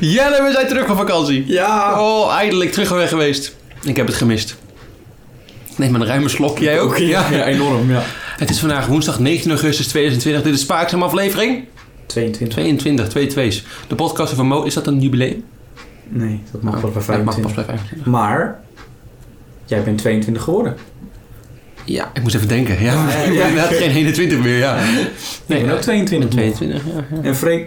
Jelle, we zijn terug van vakantie. Ja. Oh, eindelijk terug weg geweest. Ik heb het gemist. Neem maar een ruime slok. Jij ook? Ja, ja, enorm, ja. Het is vandaag woensdag 19 augustus 2020. Dit is Spaakzaam aflevering 22? 22, 2 2's. De podcast van Mo, is dat een jubileum? Nee, dat mag wel bij Ja, Oh, dat mag 25. pas bij 25. Maar, jij bent 22 geworden. Ja, ik moest even denken. Ja, Ja, ja, ik ben ja. inderdaad geen 21 meer, ja. ik ben ook 22. 22, ja. ja. En Freek...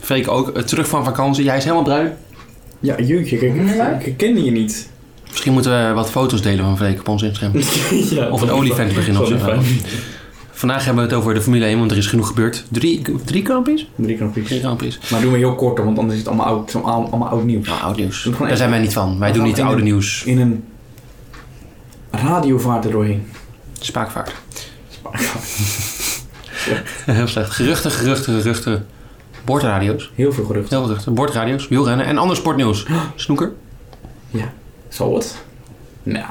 Freek ook eh, terug van vakantie. Jij is helemaal bruin. Ja, jeetje, kijk, ik- ik kende je niet. Misschien moeten we wat foto's delen van Freek op ons Instagram. ja, Of een olifant beginnen of zo. Vandaag hebben we het over de Formule 1, want er is genoeg gebeurd. Drie, drie kampioens? Drie Drie knopjes. kampioens. Maar doen we heel kort, hoor, want anders is het allemaal oud, allemaal, allemaal oud nieuws. Nou, oud nieuws. Doe gewoon Daar zijn wij niet van. Wij doen We gaan niet in oude de- nieuws. In een radiovaart er doorheen. Spaakvaart. Heel slecht. Geruchten, geruchten, geruchten. Bordradio's. Heel veel gerucht. Heel veel geruchten. Bordradio's, wielrennen en ander sportnieuws. Snoeker. Zal het? Nou,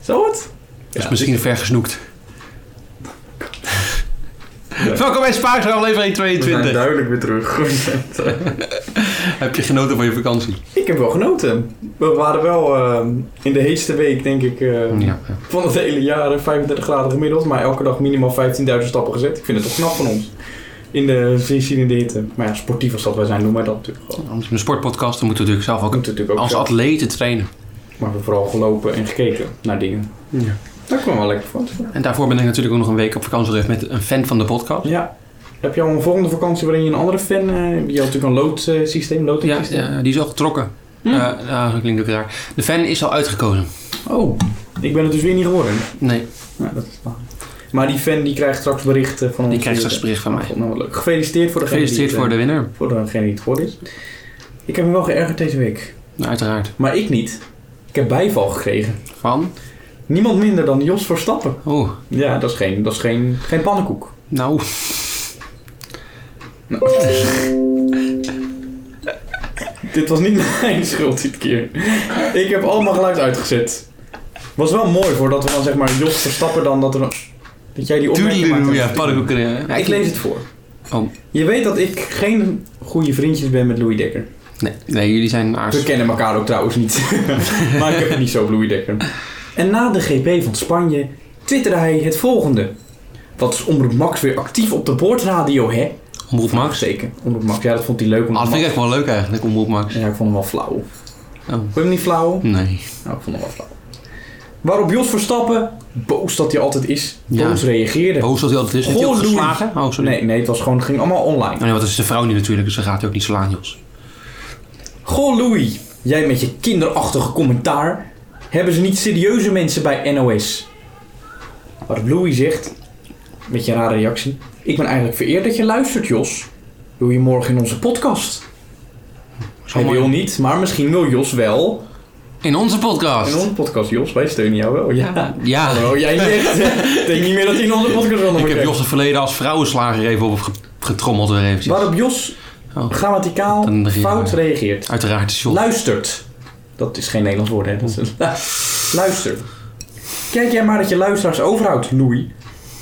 zal het? Dat is misschien ver gesnoekt. Welkom bij Spaakzaam aflevering 22. duidelijk weer terug. Heb je genoten van je vakantie? ik heb wel genoten. We waren wel ehm, in de heetste week, denk ik, eh, Ja. van het hele jaar. eh, 35 graden gemiddeld, maar elke dag minimaal 15.000 stappen gezet. Ik vind het toch knap van ons. In de zinnende hitte. Maar ja, sportief als dat wij zijn, doen wij dat natuurlijk gewoon. Anders een sportpodcast, dan moeten we natuurlijk zelf We ook moeten natuurlijk ook als zelf. atleten trainen. Maar we hebben vooral gelopen en gekeken naar dingen. Ja. Daar kwam wel lekker van. En daarvoor ben ik natuurlijk ook nog een week op vakantie geweest met een fan van de podcast. Ja. Heb je al een volgende vakantie waarin je een andere fan... eh, je had natuurlijk een loodsysteem, Ja, lotingsysteem. ja, die is al getrokken. Hm. Eh nou, dat klinkt ook raar. De fan is al uitgekozen. Oh, ik ben het dus weer niet geworden. Nee, Nou, dat is waar. Maar die fan die krijgt straks berichten van ons. die krijgt straks bericht van mij. God, nou, wat leuk. Gefeliciteerd voor degene Gefeliciteerd die het, voor de winnaar. eh, voor degene die het geworden is. Ik heb me wel geërgerd deze week. Nou, uiteraard. Maar ik niet. Ik heb bijval gekregen. Van? Niemand minder dan Jos Verstappen. Oeh, Ja, dat is geen, dat is geen, geen pannenkoek. Nou. nou. Dit was niet mijn schuld dit keer. Ik heb allemaal geluid uitgezet. Was wel mooi voordat we dan zeg maar Jos Verstappen dan dat er... een- Dat jij die opmerking maakt. Toedeloe, ja, paddenkoeken. ja. Ja, Ik lees het voor. Oh. Je weet dat ik geen goede vriendjes ben met Louis Dekker. Nee, nee, jullie zijn We aardig. kennen elkaar ook trouwens niet. maar ik heb het niet zo op Louis Dekker. En na de GP van Spanje twitterde hij het volgende. Wat is Omroep Max weer actief op de boordradio, hè? Omroep Max. Zeker. Omroep Max, ja, dat vond hij leuk. Ah, Omroep dat vind ik Max. echt wel leuk eigenlijk, Omroep Max. Ja, ik vond hem wel flauw. Oh. Vond je hem niet flauw? Nee. Nou, ik vond hem wel flauw. Waarop Jos Verstappen, boos dat hij altijd is, Ja. boos reageerde. Boos dat hij Oh, altijd is. Heeft hij ook Goh, Louis. geslagen? Oh, sorry. Nee, nee, het was gewoon, het ging allemaal online. Oh, nee, want dat is de vrouw nu natuurlijk, dus dan gaat hij ook niet slaan, Jos. Goh, Louis, jij met je kinderachtige commentaar. Hebben ze niet serieuze mensen bij NOS? Waarop Louis zegt, met je rare reactie. Ik ben eigenlijk vereerd dat je luistert, Jos. Doe je morgen in onze podcast? Zo Hij mooi. wil niet, maar misschien wil Jos wel. In onze podcast. In onze podcast, Jos, wij steunen jou wel. Ja. Ja. Hallo, jij niet echt. hè? Ik denk niet meer dat hij in onze podcast wil. Ik heb Jos het verleden als vrouwenslager even op ge- getrommeld weer eventjes. Waarop Jos Oh. grammaticaal Dan reageer- fout reageert. Uiteraard is Jos. Luistert. Dat is geen Nederlands woord, hè? Dat is een... Luistert. Kijk jij maar dat je luisteraars overhoudt, Louis.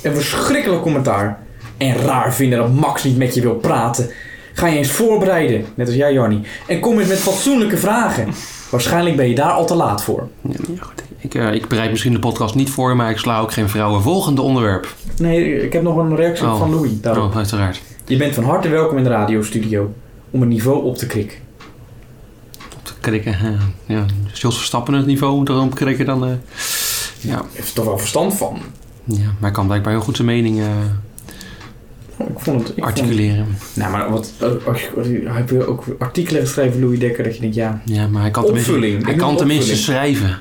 Een verschrikkelijk commentaar. En raar vinden dat Max niet met je wil praten. Ga je eens voorbereiden, net als jij, Jannie. En kom eens met fatsoenlijke vragen. Waarschijnlijk ben je daar al te laat voor. Ja, ja, goed. Ik, eh, ik bereid misschien de podcast niet voor, maar ik sla ook geen vrouwen. Volgende onderwerp. Nee, ik heb nog een reactie Oh. van Louis daarop. Oh, uiteraard. Je bent van harte welkom in de radiostudio. Om een niveau op te krikken. Op te krikken. eh, ja. Is Jos Verstappen het niveau daarom krikken dan? eh, ja. Heeft er toch wel verstand van? ja, maar hij kan blijkbaar heel goed zijn mening eh, Ik vond het... Ik vond het- articuleren. Nou, maar wat, als je, heb je ook artikelen geschreven, Louis Dekker, dat je denkt, ja, Ja, maar hij kan Opvulling. tenminste, hij Ik kan noem tenminste opvulling. schrijven.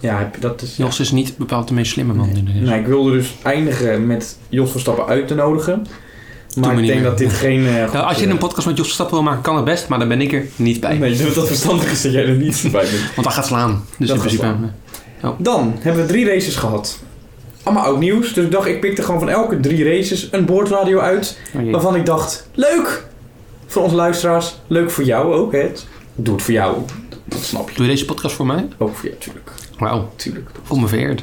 ja heb je- dat is... Jos is niet bepaald de meest slimme man. in de- Nou, ik wilde dus eindigen met Jos Verstappen uit te nodigen. me Maar ik niet denk meer. dat dit geen... eh, goed, Nou, als je eh, een podcast met Jos Verstappen wil maken, kan het best, maar dan ben ik er niet bij. Nee, dat dat verstandig is dat jij er niet bij bent. Want hij gaat slaan. Dus Dat in gaat principe. slaan. eh, Dan hebben we drie races gehad. Allemaal oud nieuws. Dus ik dacht, ik pikte gewoon van elke drie races een boordradio uit. oh jee. Waarvan ik dacht, leuk! Voor onze luisteraars. Leuk voor jou ook, hè? Doe het voor jou. Dat snap je. Doe je deze podcast voor mij? Ook voor jou, tuurlijk. Wauw, Tuurlijk. kom me vereerd.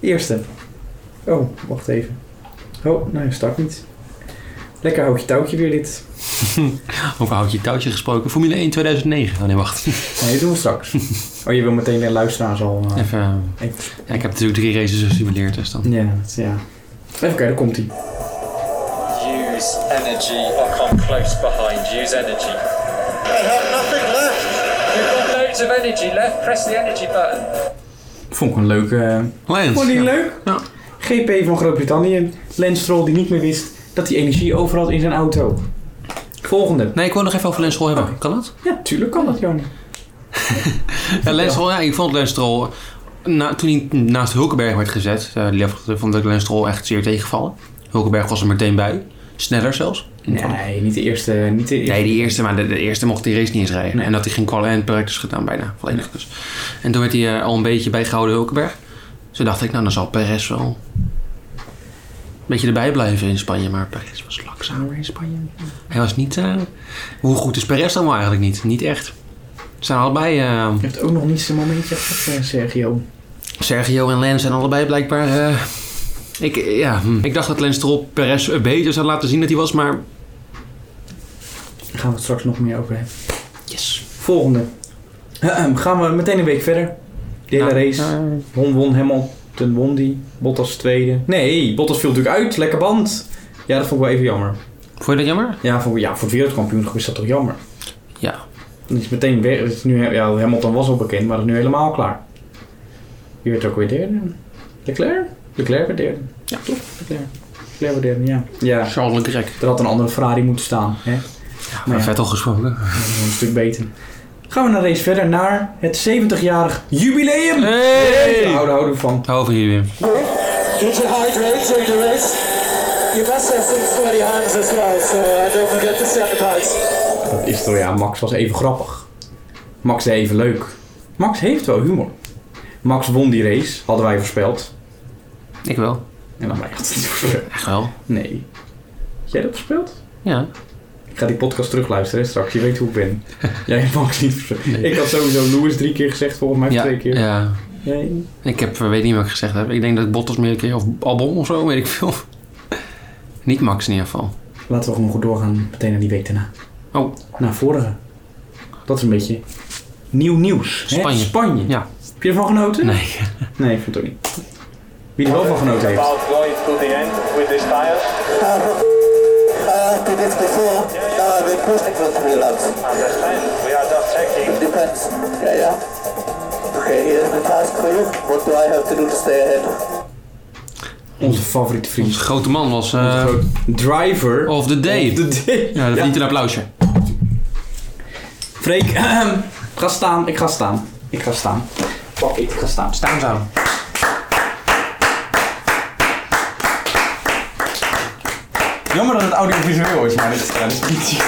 Eerste. Oh, wacht even. Oh, nee, start niet. Lekker houtje touwtje weer dit. Over houd je touwtje gesproken. Formule 1 2009. Oh nee, wacht. Nee, doen we straks. Oh, je wil meteen de luisteraars al... eh, Even, eh, even- ja, ik heb natuurlijk drie races gesimuleerd, dus dan. Ja, dat- ja. Even kijken, daar komt hij. Use energy or come close behind. Use energy. I have nothing left. You've got loads of energy left. Press the energy button. Vond ik een leuke... eh, Lions. Vond je ja. die leuk? Ja. GP van Groot-Brittannië. Lance Stroll die niet meer wist dat hij energie over had in zijn auto. Volgende. Nee, ik wil nog even over Lens Stroll hebben. Kan dat? Ja, tuurlijk kan dat, Jan. Ja, Lens Stroll, ja, ik vond Lens Stroll... Na, toen hij naast Hulkenberg werd gezet, eh, die vond- vond ik Lens Stroll echt zeer tegenvallen. Hulkenberg was er meteen bij. Sneller zelfs. Nee, niet de eerste. Niet de eerste. Nee, die eerste, maar de, de eerste mocht die race niet eens rijden. Nee. En dat hij geen qualifying practice gedaan bijna, volledig dus. En toen werd hij eh, al een beetje bijgehouden Hulkenberg. Dus toen dacht ik, nou dan zal Perez wel een beetje erbij blijven in Spanje. Maar Perez was langzamer in Spanje. Hij was niet... eh, hoe goed is Perez dan wel eigenlijk niet? Niet echt. Ze zijn allebei... eh, Hij heeft ook nog niet zijn momentje gehad, eh, Sergio. Sergio en Lens zijn allebei blijkbaar... eh, ik, ja, hm. ik dacht dat Lens Stroll Perez een beetje zou laten zien dat hij was, maar... Daar gaan we het straks nog meer over hebben. Yes. Volgende. Ahem, gaan we meteen een week verder. De hele Nou, race. eh, Won, won Hamilton, won die. Bottas tweede. Nee, Bottas viel natuurlijk uit. Lekker band. Ja, dat vond ik wel even jammer. vond je dat jammer? Ja, voor, ja, voor het wereldkampioenschap is dat toch jammer? Ja. Dan is meteen weer, het is nu, ja, Hamilton was al bekend, maar dat is nu helemaal klaar. Wie werd ook weer derde? Leclerc? Leclerc werd derde. Ja. toch? Leclerc. Leclerc werd derde, ja. Ja, Charles Leclerc. er had een andere Ferrari moeten staan. Hè? Maar Maar ja, vet al gesproken. dat is wel een stuk beter. Gaan we een race verder naar het 70-jarig jubileum! Hey! Daar houden, houden we van. Hou van jullie, Wim. Did you hide right during the race? You must have seen so many hands as well, so I don't forget to set the cards. Dat is toch, ja, Max was even grappig. Max deed even leuk. Max heeft wel humor. Max won die race, hadden wij voorspeld. Ik wel. En dan wij hadden het niet voorspeld. Echt wel. Nee. Had jij dat voorspeld? Ja. Ik ga die podcast terugluisteren hè, straks. Je weet hoe ik ben. Jij hebt Max niet versproken. Ik had sowieso Lewis drie keer gezegd, volgens mij of ja. twee keer. Ja. Nee. Ik heb, eh, weet niet wat ik gezegd heb. Ik denk dat ik Bottas meer kreeg. Of Albon of zo, weet ik veel. Niet Max in ieder geval. Laten we gewoon goed doorgaan meteen naar die week daarna. Oh. Naar vorige. Dat is een beetje nieuw nieuws. hè? Spanje. Spanje. Ja. Heb je ervan genoten? Nee. Nee, ik vond het ook niet. Wie er wel van genoten heeft. About going to the end with this tire. Uh, did it before. Ah, Now I've been pushing for three laps. Understand? We are just checking. Depends. Yeah, yeah. Okay, here's the task for you. What do I have to do to stay ahead? Onze favoriete vriend. Onze grote man was... eh, Onze grote driver of the day. of the day. Ja, dat verdient een applausje. Freek, ik ga staan, ik ga staan. Ik ga staan. Pak ik, ga staan. Staan zou. Jammer dat het audiovisueel is, maar dit is trouwens niet.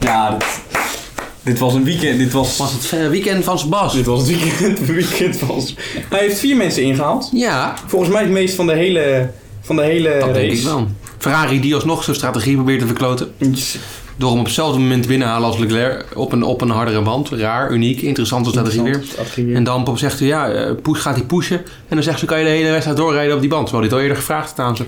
Ja, dit, dit was een weekend. Dit was, Was het eh, weekend van Sebas? dit was het weekend. het weekend was. Hij heeft vier mensen ingehaald. Ja. Volgens mij het meest van de hele, van de hele Dat race. denk ik wel. Ferrari die alsnog zijn strategie probeert te verkloten. Iets- Door hem op hetzelfde moment binnenhalen als Leclerc. Op een, op een hardere band. Raar, uniek, interessante strategie weer. Strategie weer. En dan Pop zegt hij, ja, eh, push, gaat hij pushen. En dan zegt ze, kan je de hele wedstrijd doorrijden op die band. Terwijl dit al eerder gevraagd had aan ze.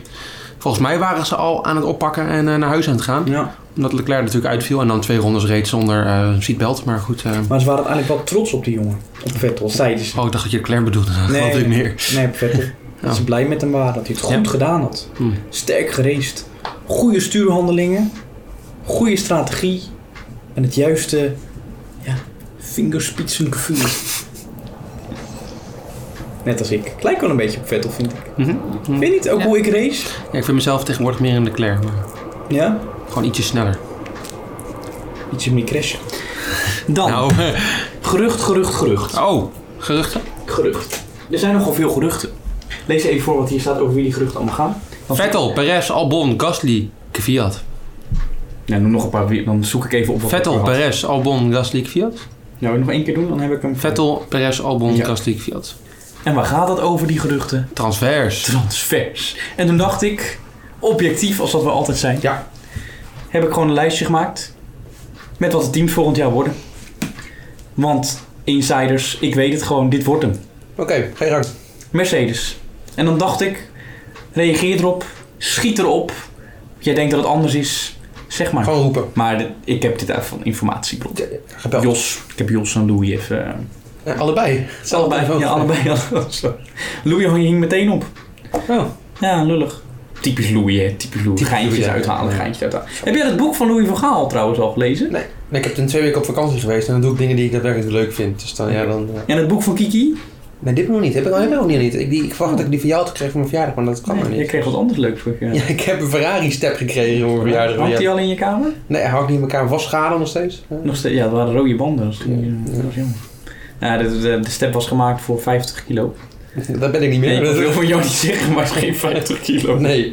Volgens mij waren ze al aan het oppakken en eh, naar huis aan het gaan. Ja. Omdat Leclerc natuurlijk uitviel en dan twee rondes reed zonder eh seatbelt. Maar goed, eh, Maar ze waren eigenlijk wel trots op die jongen. Op Vettel, zeiden ze. oh, ik dacht dat je Leclerc bedoelde. Dat Nee. nee. ik meer. Nee, op Vettel. Dat ze blij met hem waren, dat hij het goed Ja. gedaan had. Hm. Sterk geraced. Goede stuurhandelingen. Goede strategie. En het juiste... Ja, vingerspitsengevoel. Net als ik. Ik Lijk wel een beetje op Vettel, vind ik. Mhm. Vind je niet? Ook Ja. hoe ik race. Ja, ik vind mezelf tegenwoordig meer een Leclerc. Maar Ja? gewoon ietsje sneller. Iets in die crashen. Dan, Nou, gerucht, gerucht, gerucht. oh, geruchten? Gerucht. Er zijn nogal veel geruchten. Lees even voor wat hier staat over wie die geruchten allemaal gaan. Vettel, Perez, Albon, Gasly, Kvyat. Ja, noem nog een paar, wie- dan zoek ik even op wat Vettel, ik had. Perez, Albon, Gasly, Kvyat. Nou, nog één keer doen, dan heb ik hem. Vettel, Perez, Albon, Ja. Gasly, Kvyat. En waar gaat dat over, die geruchten? Transvers. Transvers. En toen dacht ik, objectief als dat we altijd zijn, Ja. heb ik gewoon een lijstje gemaakt met wat de teams volgend jaar worden. Want insiders, ik weet het gewoon, dit wordt hem. Oké, ga je gang. Mercedes. En dan dacht ik, reageer erop, schiet erop. Jij denkt dat het anders is, zeg maar. Gewoon roepen. Maar de- ik heb dit uit van informatiebron. Gebeld. Jos, ik heb Jos en Louis even... eh, Ja, allebei. Hetzelfde Allebei, telefoon. ja, allebei. Sorry. Louis hang- hing meteen op. Oh. Ja, lullig. Typisch Louis, hè. Typisch Louis. geintjes Louis, ja. uithalen, geintjes uithalen. Heb jij het boek van Louis van Gaal trouwens al gelezen? Nee. nee, ik heb toen twee weken op vakantie geweest en dan doe ik dingen die ik daadwerkelijk leuk vind. Dus dan, ja, dan... eh, En het boek van Kiki? Nee, dit nog niet. Heb ik, heb ik nog niet. Ik, die, ik verwacht dat ik die van jou had gekregen voor mijn verjaardag, maar dat kan Nee, maar jij niet. kreeg wat anders leuks voor je. Ja, ik heb een Ferrari-step gekregen voor mijn verjaardag. Hangt Ja. die al in je kamer? Nee, hou ik niet in elkaar vast schade nog steeds. Ja. Nog steeds, ja, er waren rode banden. Dat was, dat was jammer. Nou, de, de, de step was gemaakt voor 50 kilo. Dat ben ik niet Nee, meer. ik wil voor jou niet zeggen, maar het is geen 50 kilo. Nee,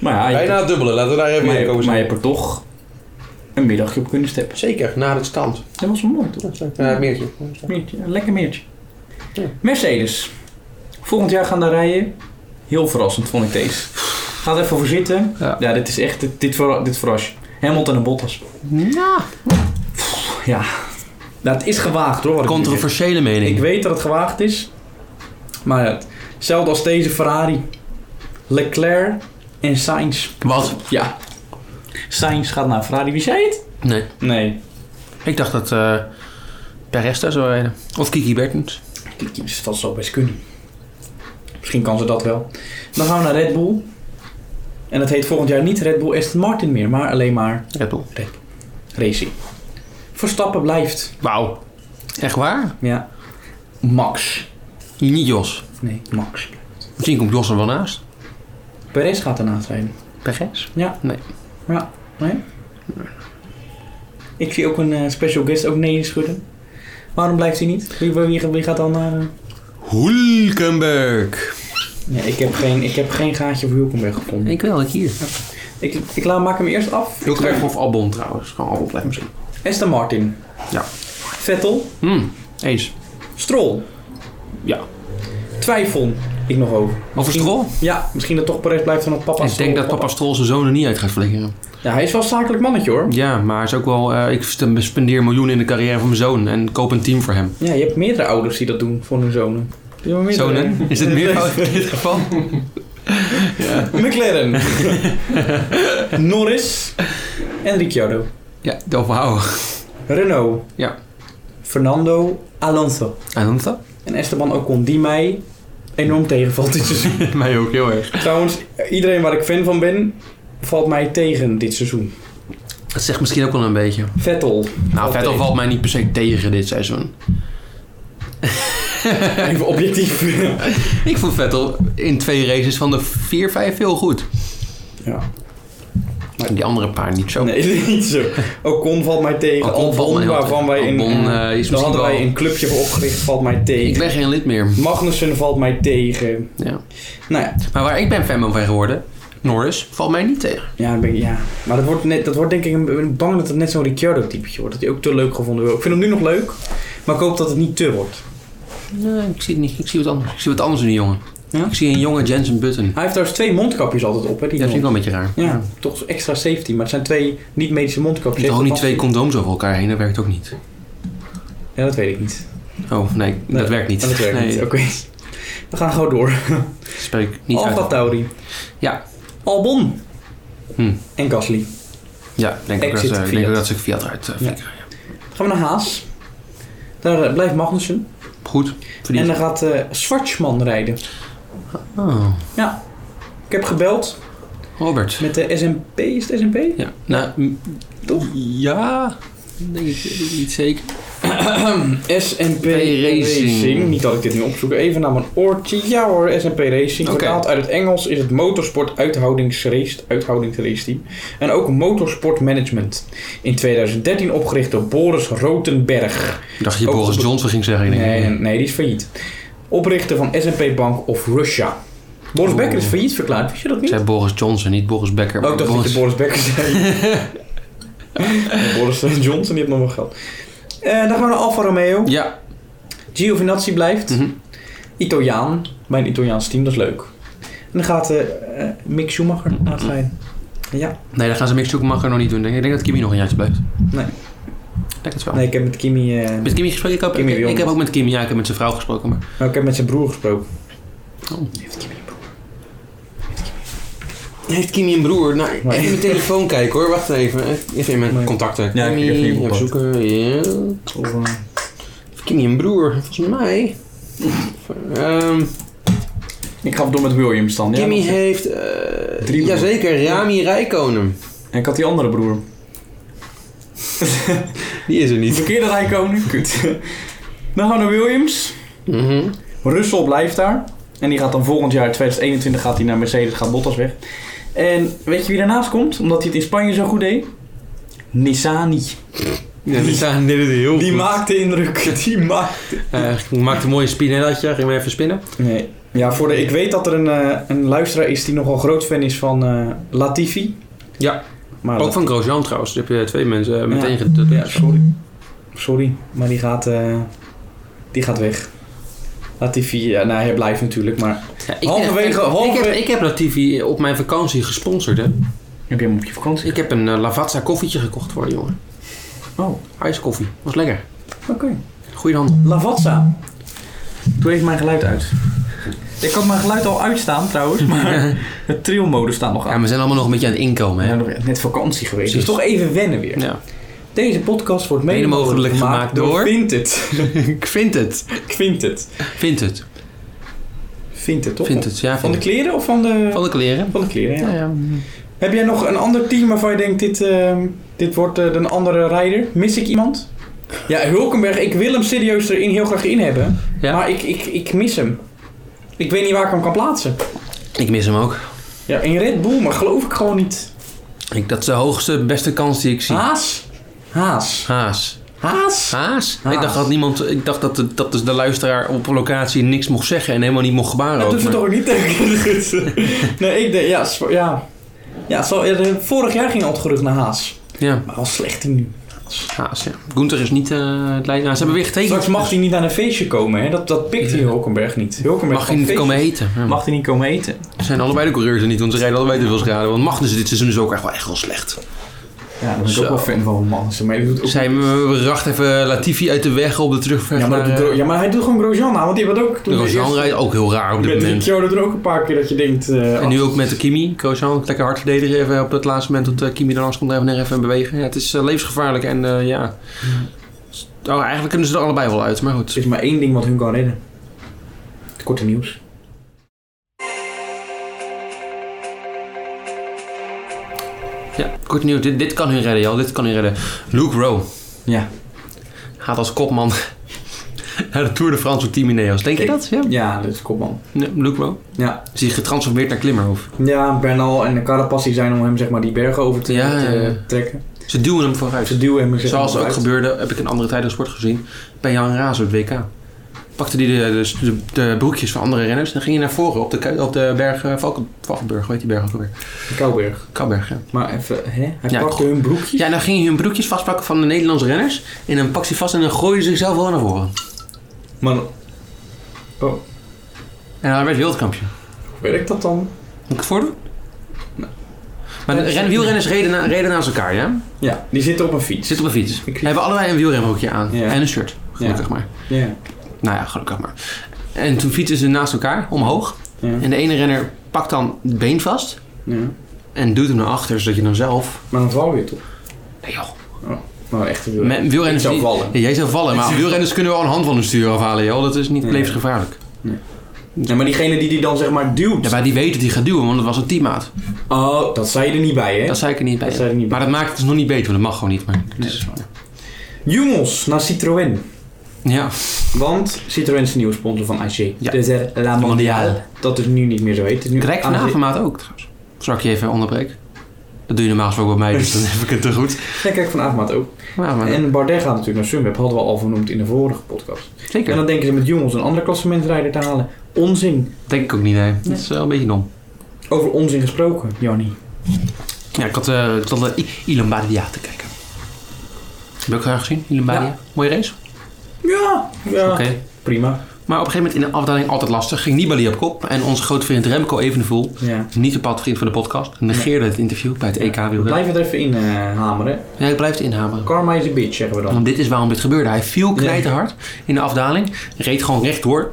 Maar ja, je, bijna het dubbele. Laten we daar even maar, mee je, komen. maar je hebt er toch een middagje op kunnen steppen. Zeker, na het stand. Dat was wel mooi, toch? Ja, het meertje. Meertje, een lekker meertje. Ja. Mercedes. Volgend jaar gaan daar rijden. Heel verrassend vond ik deze. Ga er even voor zitten. Ja, Ja. dit is echt, dit, dit, verra- dit verras je. Hamilton en Bottas. Ja. Nou, het is gewaagd hoor. wat ik nu zeg. Controversiële mening. Ik weet dat het gewaagd is. Maar ja, hetzelfde als deze Ferrari. Leclerc en Sainz. Wat? Ja. Sainz gaat naar Ferrari. Wie zei het? Nee. Nee. Ik dacht dat eh Perez daar zou rijden. Of Kiki Bertens. dus Dat zou best kunnen. Misschien kan ze dat wel. Dan gaan we naar Red Bull. En dat heet volgend jaar niet Red Bull Aston Martin meer, maar alleen maar Red Bull. Racing. Verstappen blijft. Wauw. Echt waar? Ja. Max. Niet Jos. Nee, Max. Misschien komt Jos er wel naast. Perez gaat ernaast rijden. Perez? Ja. Nee. Ja. Nee? Ik zie ook een eh, special guest ook nee schudden. Waarom blijft hij niet? Wie, wie, wie gaat dan naar... eh, Hulkenberg. Nee, ik heb geen, ik heb geen gaatje voor Hulkenberg gevonden. Ik wel, ik hier. Ik, ik laat, maak hem eerst af. Hulkenberg of Albon trouwens. Gewoon Albon blijft misschien. Aston Martin. Ja. Vettel. Hmm. Eens. Strol. Ja. Twijfel. Ik nog over. Over Misschien- Strol? Ja, misschien dat toch Perez blijft van het papa Ik denk dat papa Strol zijn zoon er niet uit gaat flikkeren. Ja, hij is wel een zakelijk mannetje hoor. Ja, maar hij is ook wel... eh, ik spendeer miljoenen in de carrière van mijn zoon. En koop een team voor hem. Ja, je hebt meerdere ouders die dat doen voor hun zonen. Je hebt meerdere- Zonen? Is het meer in dit geval? McLaren. Norris. En Ricciardo. Ja, oh, wauw. Renault. Ja. Fernando Alonso. En dan dat? En Esteban Ocon, die mij enorm tegenvalt dit seizoen. Mij ook, heel erg. Trouwens, iedereen waar ik fan van ben, valt mij tegen dit seizoen. Dat zegt misschien ook wel een beetje. Vettel. Nou, Valt Vettel tegen. valt mij niet per se tegen dit seizoen. Even objectief. Ik vond Vettel in twee races van de 4, 5 heel goed. ja. En die andere paar niet zo. Nee, niet zo. Ocon valt mij tegen. Ocon Albon, Oh. valt mij heel waarvan tegen. wij in, Albon, eh, is daar misschien hadden wij wel- een clubje voor opgericht, valt mij Ik tegen. ben geen lid meer. Magnussen valt mij tegen. Ja. Nou ja, Maar waar ik ben fan van geworden, Norris, valt mij niet tegen. ja, dan ben ik- ja. maar dat wordt, net, dat wordt denk ik, een- ik ben bang dat het net zo'n Ricciardo-typetje wordt. Dat hij ook te leuk gevonden wordt. Ik vind hem nu nog leuk, maar ik hoop dat het niet te wordt. Nee, ik zie het niet. Ik zie wat anders. Ik zie wat anders in die jongen. Ja? Ik zie een jonge Jensen Button. Hij heeft trouwens twee mondkapjes altijd op, hè? Die Ja, dat vind ik jongen. wel een beetje raar. Ja, toch extra safety, maar het zijn twee niet-medische mondkapjes. Je ook Heeft niet dat twee vast- condooms over elkaar heen, dat werkt ook niet. Ja, dat weet ik niet. Oh, nee, dat werkt niet. Oh, Dat werkt nee, niet, oké. We gaan gewoon door. Spreek niet Alfa uit. Tauri. Ja. Albon. Hm. En Gasly. Ja, denk ik dat, Exit ze- ik Fiat. denk ook dat ze Fiat eruit eh, flikkeren. Gaan we naar Haas. Daar eh, blijft Magnussen. Goed, En verdiend. dan gaat eh Schwartzman rijden. eh, Oh, Ja. Ik heb gebeld Robert. met de SMP. Is het SMP? Ja, nou, m- toch? Ja, denk ik weet ik niet zeker. SMP Racing. Niet dat ik dit nu opzoek. Even naar mijn oortje. Ja hoor, SMP Racing. Oké. Vertaald uit het Engels is het motorsport uithoudingsrace, uithoudingsrace team. En ook motorsport management. In 2013 opgericht door Boris Rotenberg. Ik dacht je Ook Boris goed. Johnson ging zeggen. Ik denk, Nee, nee, die is failliet. Oprichter van SMP Bank of Russia. Boris Becker is failliet verklaard, wist je dat Ik niet? zei Boris Johnson, niet Boris Becker. maar Ook dacht dat je Boris Becker zei. En Boris Johnson, die heeft nog wel geld. Eh, dan gaan we naar Alfa Romeo. Ja, Giovinazzi blijft. Mhm. Italiaan. Bij een Italiaans team, dat is leuk. En dan gaat eh eh, Mick Schumacher aan het rijden. Ja, nee, dan gaan ze Mick Schumacher nog niet doen. denk Ik Ik denk dat Kimi nog een jaartje blijft. Nee. Ik denk het wel. nee, ik heb met Kimi... eh, Met Kimi gesproken? Ik heb, Kimi ik- ik, Wilmot. heb ook met Kimi, ja, ik heb met zijn vrouw gesproken. Maar nou, ik heb met zijn broer gesproken. Oh. Heeft Kimi een broer? Heeft Kimi een broer? Nou, even in mijn telefoon kijken hoor. Wacht even. Even in mijn Nee. contacten. Ja, ik Kimi, heb even even opgezocht. zoeken. Ja. Of, eh, Heeft Kimi een broer? Volgens mij. Ehm ik ga door met Williams dan. ja, Kimi want- heeft... eh Drie jazeker, Rami Rijkonen. En ik had die andere broer. Die is er Die niet. verkeerde rijkoning. Kut. Dan gaan we naar Williams. Mhm. Russell blijft daar. En die gaat dan volgend jaar, 2021, gaat hij naar Mercedes, gaat Bottas weg. En weet je wie daarnaast komt? Omdat hij het in Spanje zo goed deed? Nissani. Ja, die staan dit is heel Die goed. maakte indruk. Die maakt... Eh, ik maakte een mooie spinellaatje. Ging maar even spinnen. Nee. Ja, voor de, ik weet dat er een, eh, een luisteraar is die nogal groot fan is van eh, Latifi. Ja. Maar Ook van Grosjean trouwens. Daar heb je twee mensen eh, meteen Ah, Ja. getut. Ja, sorry. mm. Sorry, maar die gaat, eh, die gaat weg. Latifi, ja, nou, hij blijft natuurlijk, maar... Ja, ik, Halverwege- ik- ik, halverwege- heb, ik heb Latifi eh, op mijn vakantie gesponsord. Hè. Heb je hem op je vakantie? Ik heb een eh, Lavazza koffietje gekocht voor de jongen. Oh, Ijskoffie. Was lekker. oké. Goeie handel. Lavazza. Doe even mijn geluid uit. Ik had mijn geluid al uitstaan trouwens, maar het trillmode staat nog Ja, aan. we zijn allemaal nog een beetje aan het inkomen. Ja, Hè. nog net vakantie geweest, dus Precies. toch even wennen weer. Ja. Deze podcast wordt mede Mede mogelijk gemaakt door- Vind het. Ik vind het. Vind het. Vind het. Vind het, toch? Vind het. Ja, Van vind de het. kleren of van de... Van de kleren. Van de kleren, ja. Ja, ja. Heb jij nog een ander team waarvan je denkt, dit, ehm, dit wordt eh, een andere rijder? Mis ik iemand? Ja, Hulkenberg, ik wil hem serieus erin heel graag in hebben. Ja. Maar ik, ik, ik mis hem. Ik weet niet waar ik hem kan plaatsen. Ik mis hem ook. Ja, in Red Bull, maar geloof ik gewoon niet. Ik, dat is de hoogste, beste kans die ik zie. Haas? Haas. Haas. Haas? Haas? Haas. Ik dacht dat niemand. Ik dacht dat, de- dat dus de luisteraar op locatie niks mocht zeggen en helemaal niet mocht gebaren. Dat ook, doen ze maar- toch ook niet tegen Nee, ik denk, ja. Sp- ja. ja zo, ja, de- vorig jaar ging al het gerucht naar Haas. Ja, Maar wel slecht nu. Haas. Ja. Gunther is niet eh, het leider. Nou, ze hebben weer getekend. Straks mag hij niet naar een feestje komen, hè? Dat, dat pikt hij Hulkenberg niet. Hulkenberg Mag kan hij niet feestjes- komen eten. Ja. Mag hij niet komen eten? Zijn allebei de coureurs er niet, want ze rijden allebei te veel schade. Want Magnus dit seizoen is ook echt wel, echt wel slecht. Ja, daar ben ik Zo. ook wel fan van, man. Maar hij doet ook... Zijn we, we rachten even Latifi uit de weg op de terugweg. ja, maar dat naar, doet eh, Gro- ja, maar hij doet gewoon Grosjean aan, want die had ook... toen de de Grosjean eerste- rijdt ook heel raar op dit Met moment. Ricciardo er ook een paar keer dat je denkt... eh, En nu ook met de Kimi. Grosjean, lekker hard verdedigen even op het laatste moment dat eh, Kimi er langs komt even, even bewegen. Ja, het is eh, levensgevaarlijk en eh, ja... Oh, eigenlijk kunnen ze er allebei wel uit, maar goed. Er is maar één ding wat hun kan redden. Het korte nieuws. Ja, kort nieuws. Dit, dit kan hun redden, joh. Dit kan hun redden. Luke Rowe Ja. gaat als kopman naar de Tour de France op Team Ineos. Denk je dat? Ja. Ja, dat is kopman. Ja, Luke Rowe. Ja. Is hij getransformeerd naar Klimmerhof. Ja, Bernal en Carapaz die zijn om hem zeg maar die bergen over te, Ja, te ja, ja. trekken. Ze duwen hem Ze vooruit. duwen hem zeg Zoals maar ook uit. gebeurde, heb ik een andere tijdens sport gezien, bij Jan Raas op het WK. Pakte hij de, de, de, de broekjes van andere renners en dan ging hij naar voren op de, ku- op de berg eh, Valken, Valkenburg. Hoe heet die berg ook alweer? Kouwberg. Kouberg, ja. Maar even, hè? Hij Ja, pakte hun broekje. Ja, en dan ging hij hun broekjes vastpakken van de Nederlandse renners. En dan pakte hij vast en dan gooide hij zichzelf wel naar voren. Maar oh, En hij werd wereldkampioen. hoe werkt dat dan? Moet ik het voordoen? Maar de ren, wielrenners reden, na, reden naast elkaar, ja? Ja, die zitten op een fiets. Zitten op een fiets. Ik- Hebben allebei een wielrenbroekje aan. Ja. En een shirt, gelukkig Ja. maar. Ja. Nou ja, gelukkig maar. En toen fietsen ze naast elkaar, omhoog. Ja. En de ene renner pakt dan het been vast ja. en duwt hem naar achter, zodat je dan zelf... Maar dan val je toch? Nee joh. Nou, echt een Met wielrenners Ik zou die- vallen. Ja, jij zou vallen, maar wielrenners kunnen wel een hand van hun stuur afhalen, joh. Dat is niet Ja. levensgevaarlijk. Ja, maar diegene die die dan zeg maar duwt. Ja, maar die weet dat hij gaat duwen, want het was een teammaat. Oh, dat zei je er niet bij, hè? Dat zei ik er niet bij. Dat zei ik niet bij. Maar dat maakt het dus nog niet beter, want dat mag gewoon niet. Maar het is- Jumos naar Citroën. ja. Want Citroën is een nieuwe sponsor van AG. Ja. Dus er La Mondiale. Mondiale. Dat is nu niet meer zo heet. Het is nu Direct AG. vanavond maat ook trouwens. Zal ik je even onderbreken? Dat doe je normaal gesproken bij mij, dus dan heb ik het te goed. Ja, kijk, Van Avermaat ook. Ja, maar En Bardet gaat natuurlijk naar Sunweb, hadden we al vernoemd in de vorige podcast. En zeker. dan denken ze met jongens een andere klassementrijder te halen. Onzin. Dat denk ik ook niet, nee. Dat is wel een beetje dom. Over onzin gesproken, Jannie. Ja, ik had, eh ik zat eh, I- Ilan Badia te kijken. Heb je ook graag gezien, Ilan Badia? Ja. Mooie race. Ja, ja. Oké. prima. Maar op een gegeven moment in de afdaling altijd lastig. Ging Nibali op kop en onze grote vriend Remco Evenepoel, Ja. niet bepaald vriend van de podcast, negeerde het interview bij het EK wielrennen. Blijf het er even in eh, hameren. Ja, hij blijft inhameren. Karma is a bitch, zeggen we dan. Want dit is waarom dit gebeurde. Hij viel knijterhard in de afdaling, reed gewoon rechtdoor.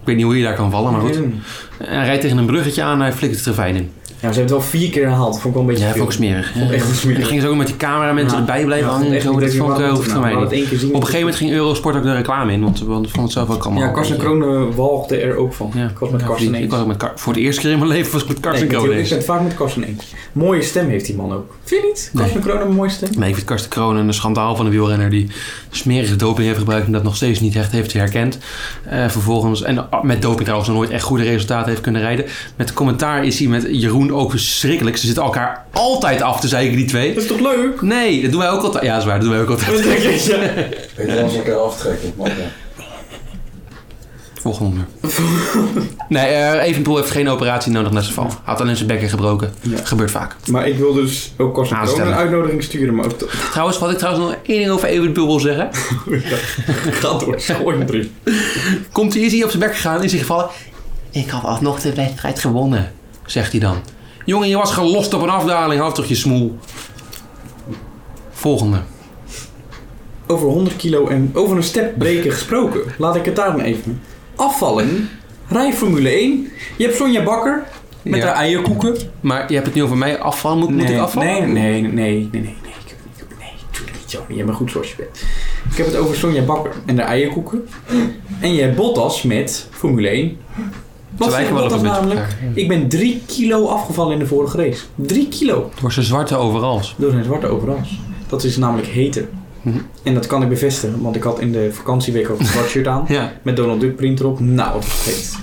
Ik weet niet hoe je daar kan vallen, maar goed. En hij rijdt tegen een bruggetje aan en hij flikkert het ravijn in. Ja, ze hebben het wel vier keer herhaald. Vond ik wel een beetje Ja, vond veel. ik smerig. Ja. Vond ik echt En smerig. dan gingen ze ook met die cameramensen Ja. erbij blijven Ja, hangen en echt zo. niet Dat dat je vond ik maar eh, had hoeft voor mij gedaan. We hadden het niet. Op één keer zien. een gegeven moment ging Eurosport ook de reclame in, want we hadden- vonden het zelf ook allemaal... Ja, Karsten een Kroon eh, walgde er ook van. beetje- Ja. Ik was met Karsten Ik eens. was ook met Kar- Voor het eerste keer in mijn leven was ik met Nee, Karsten ik, ben Kroon het- ik ben eens. het vaak met Karsten eens. Mooie stem heeft die man ook. Vind je niet? Karsten Kroon een mooie stem? Nee, ik vind Karsten Kroon een schandaal van een wielrenner die smerige doping heeft gebruikt en dat nog steeds niet echt heeft herkend. Eh, vervolgens, en ah, met doping trouwens nog nooit echt goede resultaten heeft kunnen rijden. Met commentaar is hij met Jeroen ook verschrikkelijk. Ze zitten elkaar altijd af te zeiken, die twee. Dat is toch leuk? Nee, dat doen wij ook altijd. Ja, dat is waar, dat doen wij ook altijd. Wat denk je? Weet je, als ik er aftrekken. Maar, ja. Volgende onderwerp. nee, eh Evenpoel heeft geen operatie nodig na zijn val. Hij had alleen zijn bekken gebroken. Ja. Gebeurt vaak. Maar ik wil dus ook Karsten Kroon Aanstellen. een uitnodiging sturen. Maar ook dat Trouwens, wat ik trouwens nog één ding over Evenpoel wil zeggen. gaat door. Gooi hem erin. Komt hij, is hij op zijn bek gegaan, is hij gevallen. Ik had alsnog de wedstrijd gewonnen, zegt hij dan. Jongen, je was gelost op een afdaling, hou toch je smoel. Volgende. Over 100 kilo en over een step breken gesproken. Laat ik het daar maar even. Afvallen. Rij Formule 1. Je hebt Sonja Bakker. Met Ja. haar eierkoeken. Maar je hebt het nu over mij afval, moet, moet ik afvallen? Nee, nee, nee, nee, nee, nee. nee, Ik heb, ik heb, nee, doe dat niet, Johnny. Je bent goed zoals je bent. Ik heb het over Sonja Bakker en de eierkoeken. En jij Bottas met Formule 1. Wat Ze zegt lijken wel op Bottas een beetje op namelijk? Ik ben 3 kilo afgevallen in de vorige race. 3 kilo Door zijn zwarte overals. door zijn zwarte overals. Dat is namelijk heten. Mhm. En dat kan ik bevestigen, want ik had in de vakantieweek ook een zwart shirt aan. Ja. Met Donald Duck print erop. Nou, wat was het heet.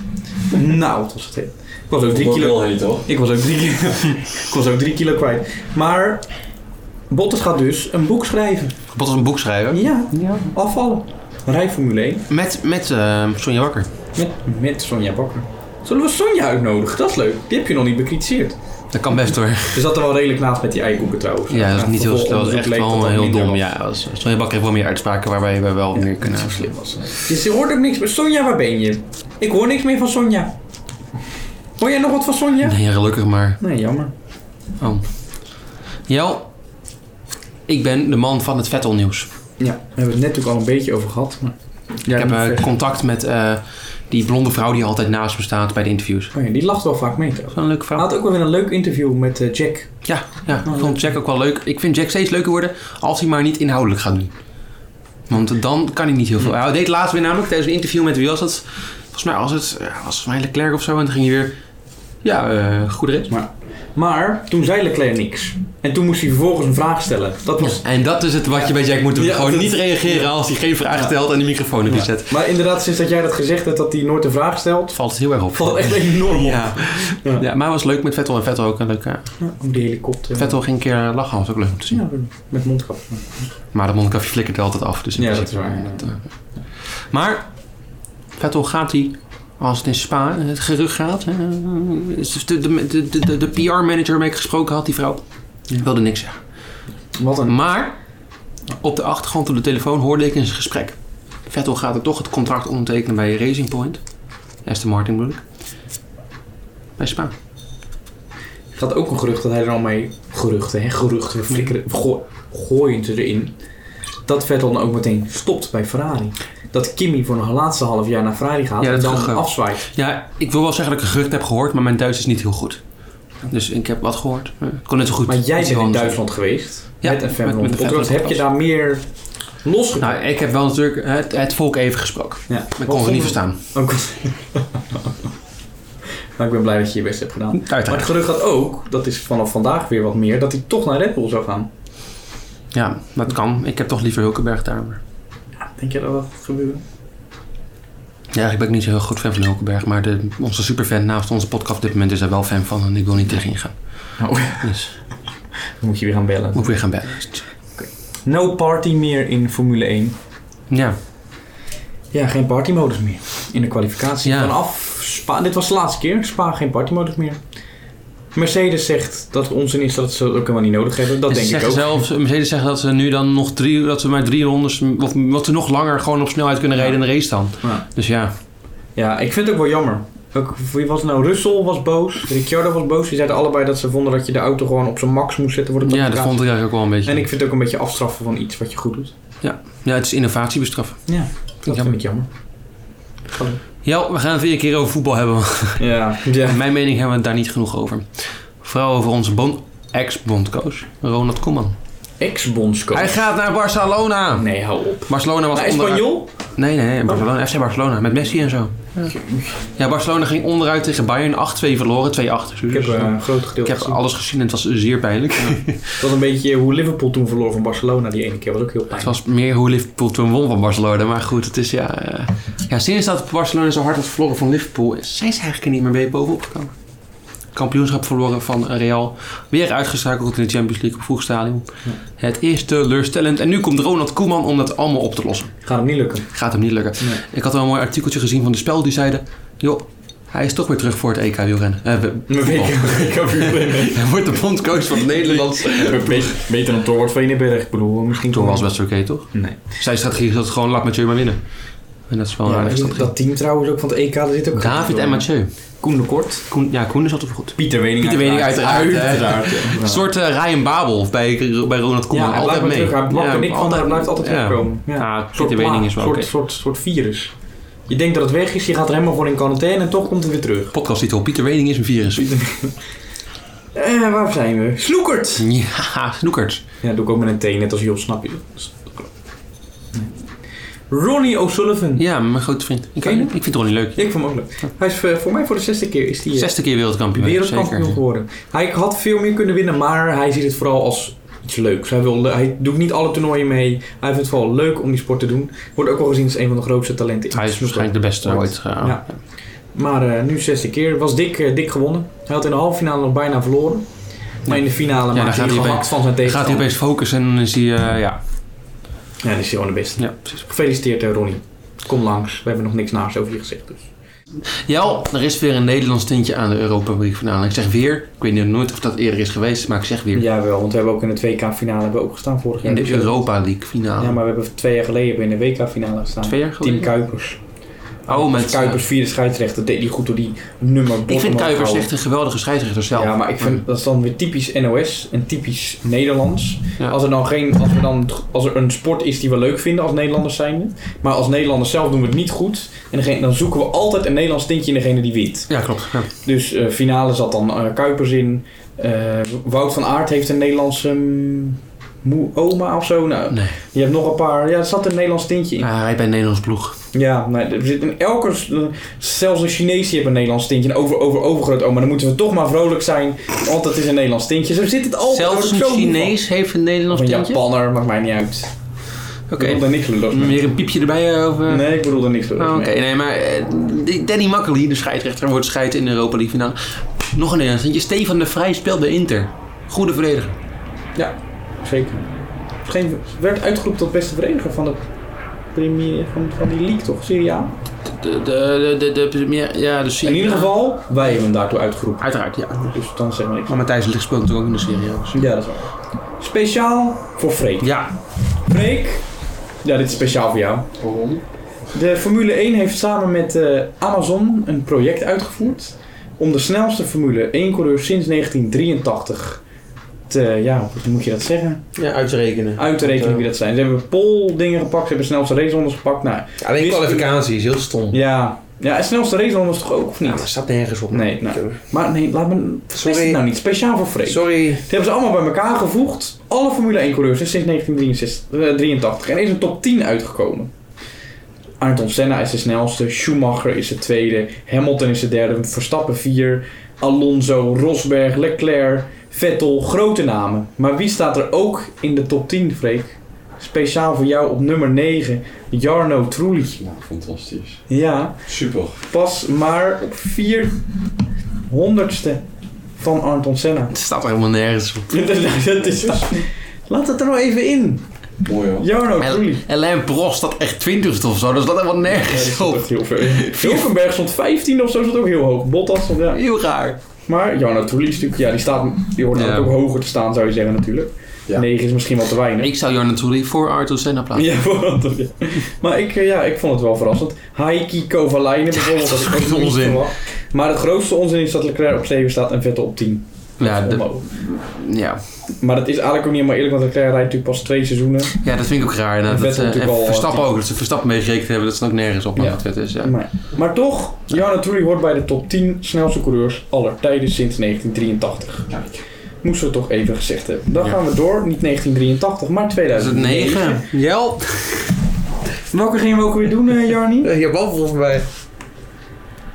Nou, wat was het heet. Ik was ook 3 Wordt kilo wel heet, toch? ik was ook drie kilo, ik was ook drie kilo kwijt. Maar Bottas gaat dus een boek schrijven. Wat is een boek schrijven? Ja, afvallen. Rij Formule 1 Met, met eh, Sonja Wakker. met, met Sonja Bakker. Zullen we Sonja uitnodigen? Dat is leuk. Die heb je nog niet bekritiseerd. Dat kan best hoor. Ze zat er wel redelijk naast met die eikoeken trouwens. Ja, dat is niet heel, dat was Vervolgonderzoek echt bleek wel dat dat heel minder dom. was. Ja, dat was- Sonja Bakker heeft wel meer uitspraken waarbij we wel meer kunnen Zo slim was ze. Dus je hoort ook niks meer. Sonja, waar ben je? Ik hoor niks meer van Sonja. Hoor jij nog wat van Sonja? Nee, gelukkig maar. Nee, jammer. Oh. Jel, ik ben de man van het Vettel-nieuws. Ja, daar hebben we het net natuurlijk al een beetje over gehad. Maar... Ja, Ik heb niet eh, ver. contact met eh, die blonde vrouw die altijd naast me staat bij de interviews. Oh ja, die lacht wel vaak mee trouwens. Zo'n leuke Hij vrouw. had ook wel weer een leuk interview met eh, Jack. Ja, ja, ik vond Jack ook wel leuk. Ik vind Jack steeds leuker worden als hij maar niet inhoudelijk gaat doen. Want dan kan hij niet heel veel. Hij deed laatst weer namelijk tijdens een interview met wie was dat? Volgens mij was het, eh, was volgens mij Leclerc of zo. En toen ging hij weer, ja, eh goed race. Maar, maar toen zei Leclerc niks. En toen moest hij vervolgens een vraag stellen. Dat was... En dat is het wat je bij Jack moet doen. Ja, Gewoon dat- niet reageren als hij geen vraag stelt en de microfoon erin zet. Maar inderdaad, sinds dat jij dat gezegd hebt dat hij nooit een vraag stelt, Valt het heel erg op. valt echt enorm op. Ja. Ja. Ja. maar het was leuk met Vettel en Vettel ook een leuke. Om die helikopter. Vettel ging een keer eh, lachen, was ook leuk om te zien. Ja, met mondkap. Maar de mondkapje flikkert altijd af. Dus in Ja, principe- dat is waar, ja. eh, maar Vettel gaat hij, als het in Spa het gerucht gaat. eh, is de, de, de, de, de PR-manager waarmee ik gesproken had, die vrouw, wilde niks zeggen. Wat een... Maar op de achtergrond op de telefoon hoorde ik in zijn gesprek. Vettel gaat er toch het contract ondertekenen bij Racing Point. Aston Martin bedoel ik. Bij Spa. Er gaat ook een gerucht dat hij er al mee... Geruchten, hè? Geruchten. We flikkeren... we Go gooien ze erin. Dat Vettel dan ook meteen stopt bij Ferrari. Dat Kimi voor een laatste half jaar naar Ferrari gaat Ja, dat en dan is gerucht. afzwaait. Ja, ik wil wel zeggen dat ik een gerucht heb gehoord, maar mijn Duits is niet heel goed. Dus ik heb wat gehoord. Eh, Ik kon net zo goed. Maar jij iets bent in anders. Duitsland geweest. Ja, met een met- met een Femmel. Femmel. Heb je daar meer losgekomen? Nou, ik heb wel natuurlijk het, het volk even gesproken. Ja. Ik kon ze niet verstaan. Ook al- maar Nou, ik ben blij dat je je best hebt gedaan. Uiteraard. Maar het gerucht gaat ook, dat is vanaf vandaag weer wat meer, dat hij toch naar Red Bull zou gaan. Ja, dat kan. Ik heb toch liever Hulkenberg daar. Maar... Denk je dat dat gaat gebeuren? Ja, ik ben niet zo heel goed fan van Hulkenberg. Maar de, Oh onze superfan naast onze podcast op dit moment is er wel fan van. En ik wil niet tegenin gaan. Dus, Dan moet je weer gaan bellen. Moet ik weer gaan bellen. No party meer in Formule 1. Ja, Ja, geen partymodus meer. In de kwalificatie. Ja. Vanaf Spa, dit was de laatste keer. Spa, geen partymodus meer. Mercedes zegt dat het onzin is dat ze dat ook helemaal niet nodig hebben. Dat En denk ze ik zeggen ook. zelfs, Mercedes zegt dat ze nu dan nog drie, dat ze maar drie rondes, of wat ze nog langer gewoon op snelheid kunnen rijden in de race dan. Ja. Dus ja, Ja, ik vind het ook wel jammer. Ook, wie was het nou? Russell was boos. Ricciardo was boos. Die zeiden allebei dat ze vonden dat je de auto gewoon op zijn max moest zetten. Voor de ja, dat kwalificatie. vond ik eigenlijk ook wel een beetje. En ik vind het ook een beetje afstraffen van iets wat je goed doet. Ja, het is innovatie bestraffen. Ja, ik dat jammer. vind ik jammer. Ja, we gaan het weer een keer over voetbal hebben. want Ja, ja. In mijn mening hebben we het daar niet genoeg over. Vooral over onze bon- ex-bondcoach, Ronald Koeman. Ex-bondscoach. Hij gaat naar Barcelona! Nee, hou op. Barcelona was Hij is onderuit. Spanjool? Nee, nee, nee, Barcelona, FC Barcelona met Messi en zo. Ja, Barcelona ging onderuit tegen Bayern, 8-2 verloren, 2-8. Ik heb eh, een groot ik gedeelte heb gezien. alles gezien en het was zeer pijnlijk. Dat was een beetje hoe Liverpool toen verloor van Barcelona die ene keer. was ook heel Het pijnlijk. was meer hoe Liverpool toen won van Barcelona. Maar goed, het is ja... eh, ja sinds dat Barcelona zo hard had verloren van Liverpool... zijn ze eigenlijk er niet meer mee bovenop gekomen. Kampioenschap verloren van Real. Weer uitgeschakeld in de Champions League op vroeg stadion. Het is teleurstellend. En nu komt Ronald Koeman om dat allemaal op te lossen. Gaat hem niet lukken. Gaat hem niet lukken. Nee. Ik had wel een mooi artikeltje gezien van de spel. Die zeiden... joh, hij is toch weer terug voor het EK wielrennen. Eh, we- hij wordt de bondcoach van Nederland. Beter dan Torwart van Innenberg. Ik bedoel, misschien Toen was best oké, toch? Nee. Zijn strategie is dat het gewoon lak met je maar winnen. En dat is wel een Ja, aardige maar strategie. dat team trouwens ook van het EK, daar zit ook... David en Mathieu. Koen de Kort. Koen, ja, Koen is altijd goed. Pieter Wening Pieter Wening uiteraard, hè. ja. Een soort eh Ryan Babel bij, bij Ronald Koeman. Ja, hij altijd blijft mee. mee. Hij Ja, blapt er niks van, hij blijft altijd ja. terugkomen. Ja, Soort Pieter Wening plaag, is wel soort, oké. soort, soort virus. Je denkt dat het weg is, je gaat er helemaal voor in quarantaine en toch komt het weer terug. Podcasttitel Pieter Wening is een virus. Eh, waar zijn we? Snoekert! Ja, snoekert. Ja, doe ik ook met een T, net als Job, snap je. Dus- Ronnie O'Sullivan. Ja, mijn grote vriend. Ik, Ken je hem? ik vind Ronnie leuk. Ik vond hem ook leuk. Hij is eh, voor mij voor de zesde keer is hij eh, Zesde keer wereldkampioen. wereldkampioen zeker. geworden. Hij had veel meer kunnen winnen, maar hij ziet het vooral als iets leuks. Hij, wil, hij doet niet alle toernooien mee. Hij vindt het vooral leuk om die sport te doen. Wordt ook wel gezien als een van de grootste talenten in Hij het is snooker. waarschijnlijk de beste Ooit. ooit. eh, Ja. Maar eh, nu zesde keer. Was dik, eh, dik gewonnen. Hij had in de halve finale nog bijna verloren. Maar in de finale dan maakte gaat hij hij gehakt opeens- van zijn Dan gaat hij tegenstander. opeens focussen en dan is hij... eh, ja. Ja, dat is gewoon de beste. ja, precies. Gefeliciteerd eh, Ronnie. Kom langs. We hebben nog niks naast over je gezegd. Dus. Jel, er is weer een Nederlands tintje aan de Europa League finale. Ik zeg weer, ik weet nu nooit of dat eerder is geweest, maar ik zeg weer. Jawel, want we hebben ook in de 2K finale hebben we ook gestaan vorig jaar. In de Dus, eh, Europa League finale. Ja, maar we hebben twee jaar geleden hebben we in de WK finale gestaan. Ah. Twee jaar Team geleden? Kuipers. Oh, met... Als Kuipers vierde scheidsrechter deed hij goed door die nummer Ik vind bottom-up Kuipers houden. echt een geweldige scheidsrechter zelf. Ja, maar ik vind dat is dan weer typisch NOS en typisch Nederlands. Ja. Als er dan geen, als er dan als er een sport is die we leuk vinden als Nederlanders zijnde, maar als Nederlanders zelf doen we het niet goed en degene- dan zoeken we altijd een Nederlands tintje in degene die wint. Ja, klopt. Ja. Dus eh, finale zat dan eh, Kuipers in. Eh, Wout van Aert heeft een Nederlandse mm, moe oma of zo. Nou, Nee. je hebt nog een paar. Ja, er zat een Nederlands tintje in. hij rijdt bij een Nederlands ploeg. Ja, nee, er zit in elke. Zelfs een Chinees die heeft een Nederlands tintje. En over, over, overgroot oma. Dan moeten we toch maar vrolijk zijn. Want het is een Nederlands tintje. Zo zit het altijd. Daar word Zelfs ik een zo moe van. Chinees heeft een Nederlands Of een tintje? Japanner, maakt mij niet uit. Oké. Ik bedoel daar niks lulligs mee. Meer een piepje erbij eh, over... Nee, ik bedoel daar niks lulligs Oh, Oké, mee. nee, maar eh, Danny Makkely, de scheidsrechter, wordt scheid in de Europa League finale. Nog een Nederlands tintje. Stefan de Vrij speelt bij Inter. Goede verdediger. Ja, zeker. Geen, werd uitgeroepen tot beste verdediger van de premier, van, van die league toch? Serie A? De, de, de, de, de premier- ja, dus In ieder geval, wij hebben hem daartoe uitgeroepen. Uiteraard, ja. Dus dan zeg maar niks. Maar Matthijs Ligt speelt natuurlijk ook in de serie. ja, dus- Ja, dat is waar. Speciaal voor Freek. Ja, Freek. Ja, dit is speciaal voor jou. Waarom? De Formule 1 heeft samen met eh, Amazon een project uitgevoerd om de snelste Formule 1 coureur sinds 1983 te, ja, hoe moet je dat zeggen? Ja, uit te rekenen. Uit te rekenen wie dat zijn. Ze hebben pole dingen gepakt, ze hebben snelste racerondes gepakt. Nou, Alleen kwalificatie is heel stom. ja, ja en snelste racerondes toch ook, of Ja, dat niet? staat nergens op. Nee, nou. Maar nee, laat me, vergis Sorry. het nou niet, speciaal voor Freek. Sorry. Die hebben ze allemaal bij elkaar gevoegd. Alle Formule 1 coureurs hè, sinds 1983. En er is een top 10 uitgekomen. Ayrton Senna is de snelste. Schumacher is de tweede. Hamilton is de derde. Verstappen vier. Alonso, Rosberg, Leclerc, Vettel. Grote namen. Maar wie staat er ook in de top 10, Freek? Speciaal voor jou op nummer 9. Jarno Trulli. Nou, fantastisch. Ja, Super. pas maar op 400ste van Anton Senna. Het staat er helemaal nergens op. dat is, laat het er nou even in. Mooi hoor. Jarno, Groelie. En Alain Prost staat echt twintigste of zo, dus dat helemaal nergens op. heel ver. Hulkenberg stond 15 of zo, stond ook heel hoog. Bottas stond, ja. Heel raar. Maar Jarno Trulli is natuurlijk, ja, die, staat, die hoort Ja. natuurlijk ook hoger te staan, zou je zeggen natuurlijk. Ja. 9 is misschien wat te weinig. Ik zou jou natuurlijk voor Arthur Senna plaatsen. Ja, voor Anton, ja. Maar ik, eh, ja, ik vond het wel verrassend. Haiki Kovalainen bijvoorbeeld, dat is echt echt onzin. onzin. Maar de grootste onzin is dat Leclerc op 7 staat en Vettel op 10. Ja, de- Onmogelijk. ja. Maar dat is eigenlijk ook niet helemaal eerlijk, want Leclerc rijdt natuurlijk pas twee seizoenen. ja, dat vind ik ook raar. inderdaad. En Dat, Vettel eh, en natuurlijk al, Verstappen eh, ook, dat ze Verstappen meegerekend hebben, dat staat ook nergens op. Maar Ja. goed, het is, ja. Maar, maar toch, Jarno Trulli hoort bij de top 10 snelste coureurs aller tijden sinds 1983. Moesten we toch even gezegd hebben. Dan gaan we door, niet 1983, maar Is het 2009. 9? Jel? Welke gingen we ook weer doen, eh, Jarnie? Japan volgens mij.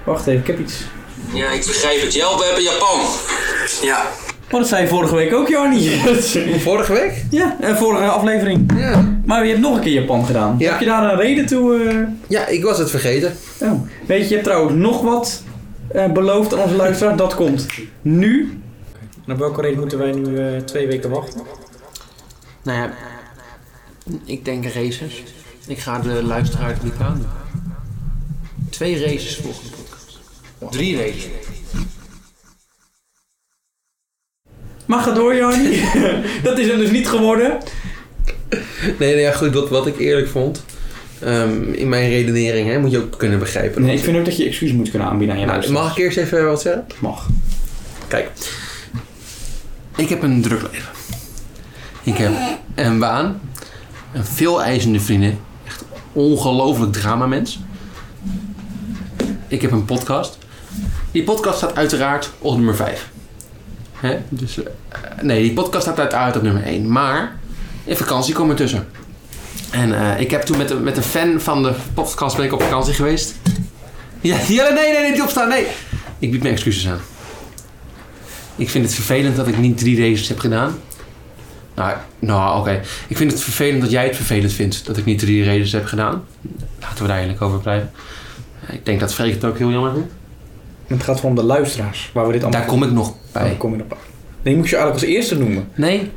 Wacht even, ik heb iets. Ja, ik begrijp het. Jel, we hebben Japan. Ja. Maar Oh, dat zei je vorige week ook, Jarnie. Vorige week? ja, en vorige aflevering. Ja. Maar je hebt nog een keer Japan gedaan. Ja. Heb je daar een reden toe? eh? Ja, ik was het vergeten. Nou, weet je, je hebt trouwens nog wat eh, beloofd aan onze luisteraar. Dat komt nu. En op welke reden moeten wij nu eh, twee weken wachten? Nou ja, ik denk races. Ik ga de luisteraar het niet aan. Twee races volgende podcast. Drie races. Maar ga door, Jarnie. dat is hem dus niet geworden. Nee, nee, ja, goed, wat, wat ik eerlijk vond. ehm, in mijn redenering, hè, moet je ook kunnen begrijpen. Nee, ik vind ook dat je excuus moet kunnen aanbieden aan je Nou, luisteraar. mag ik eerst even wat zeggen? Mag. Kijk, ik heb een druk leven. Ik heb een baan, een veel eisende vriendin, echt ongelooflijk dramamens. Ik heb een podcast. Die podcast staat uiteraard op nummer 5. Hè? Dus, eh, nee, die podcast staat uiteraard op nummer 1. Maar in vakantie kom ik tussen. En eh, ik heb toen met een, met een fan van de podcast ben ik op vakantie geweest. Ja, Jelle, nee, nee, nee, niet opstaan, nee. Ik bied mijn excuses aan. Ik vind het vervelend dat ik niet drie races heb gedaan. Nou, nou oké. Ik vind het vervelend dat jij het vervelend vindt dat ik niet drie races heb gedaan. Laten we daar eigenlijk over blijven. Ik denk dat Freek het ook heel jammer vindt. Het gaat gewoon om de luisteraars waar we dit allemaal Daar kom ik nog Oh, daar bij. kom je op. Nee, moet je eigenlijk als eerste noemen. Nee?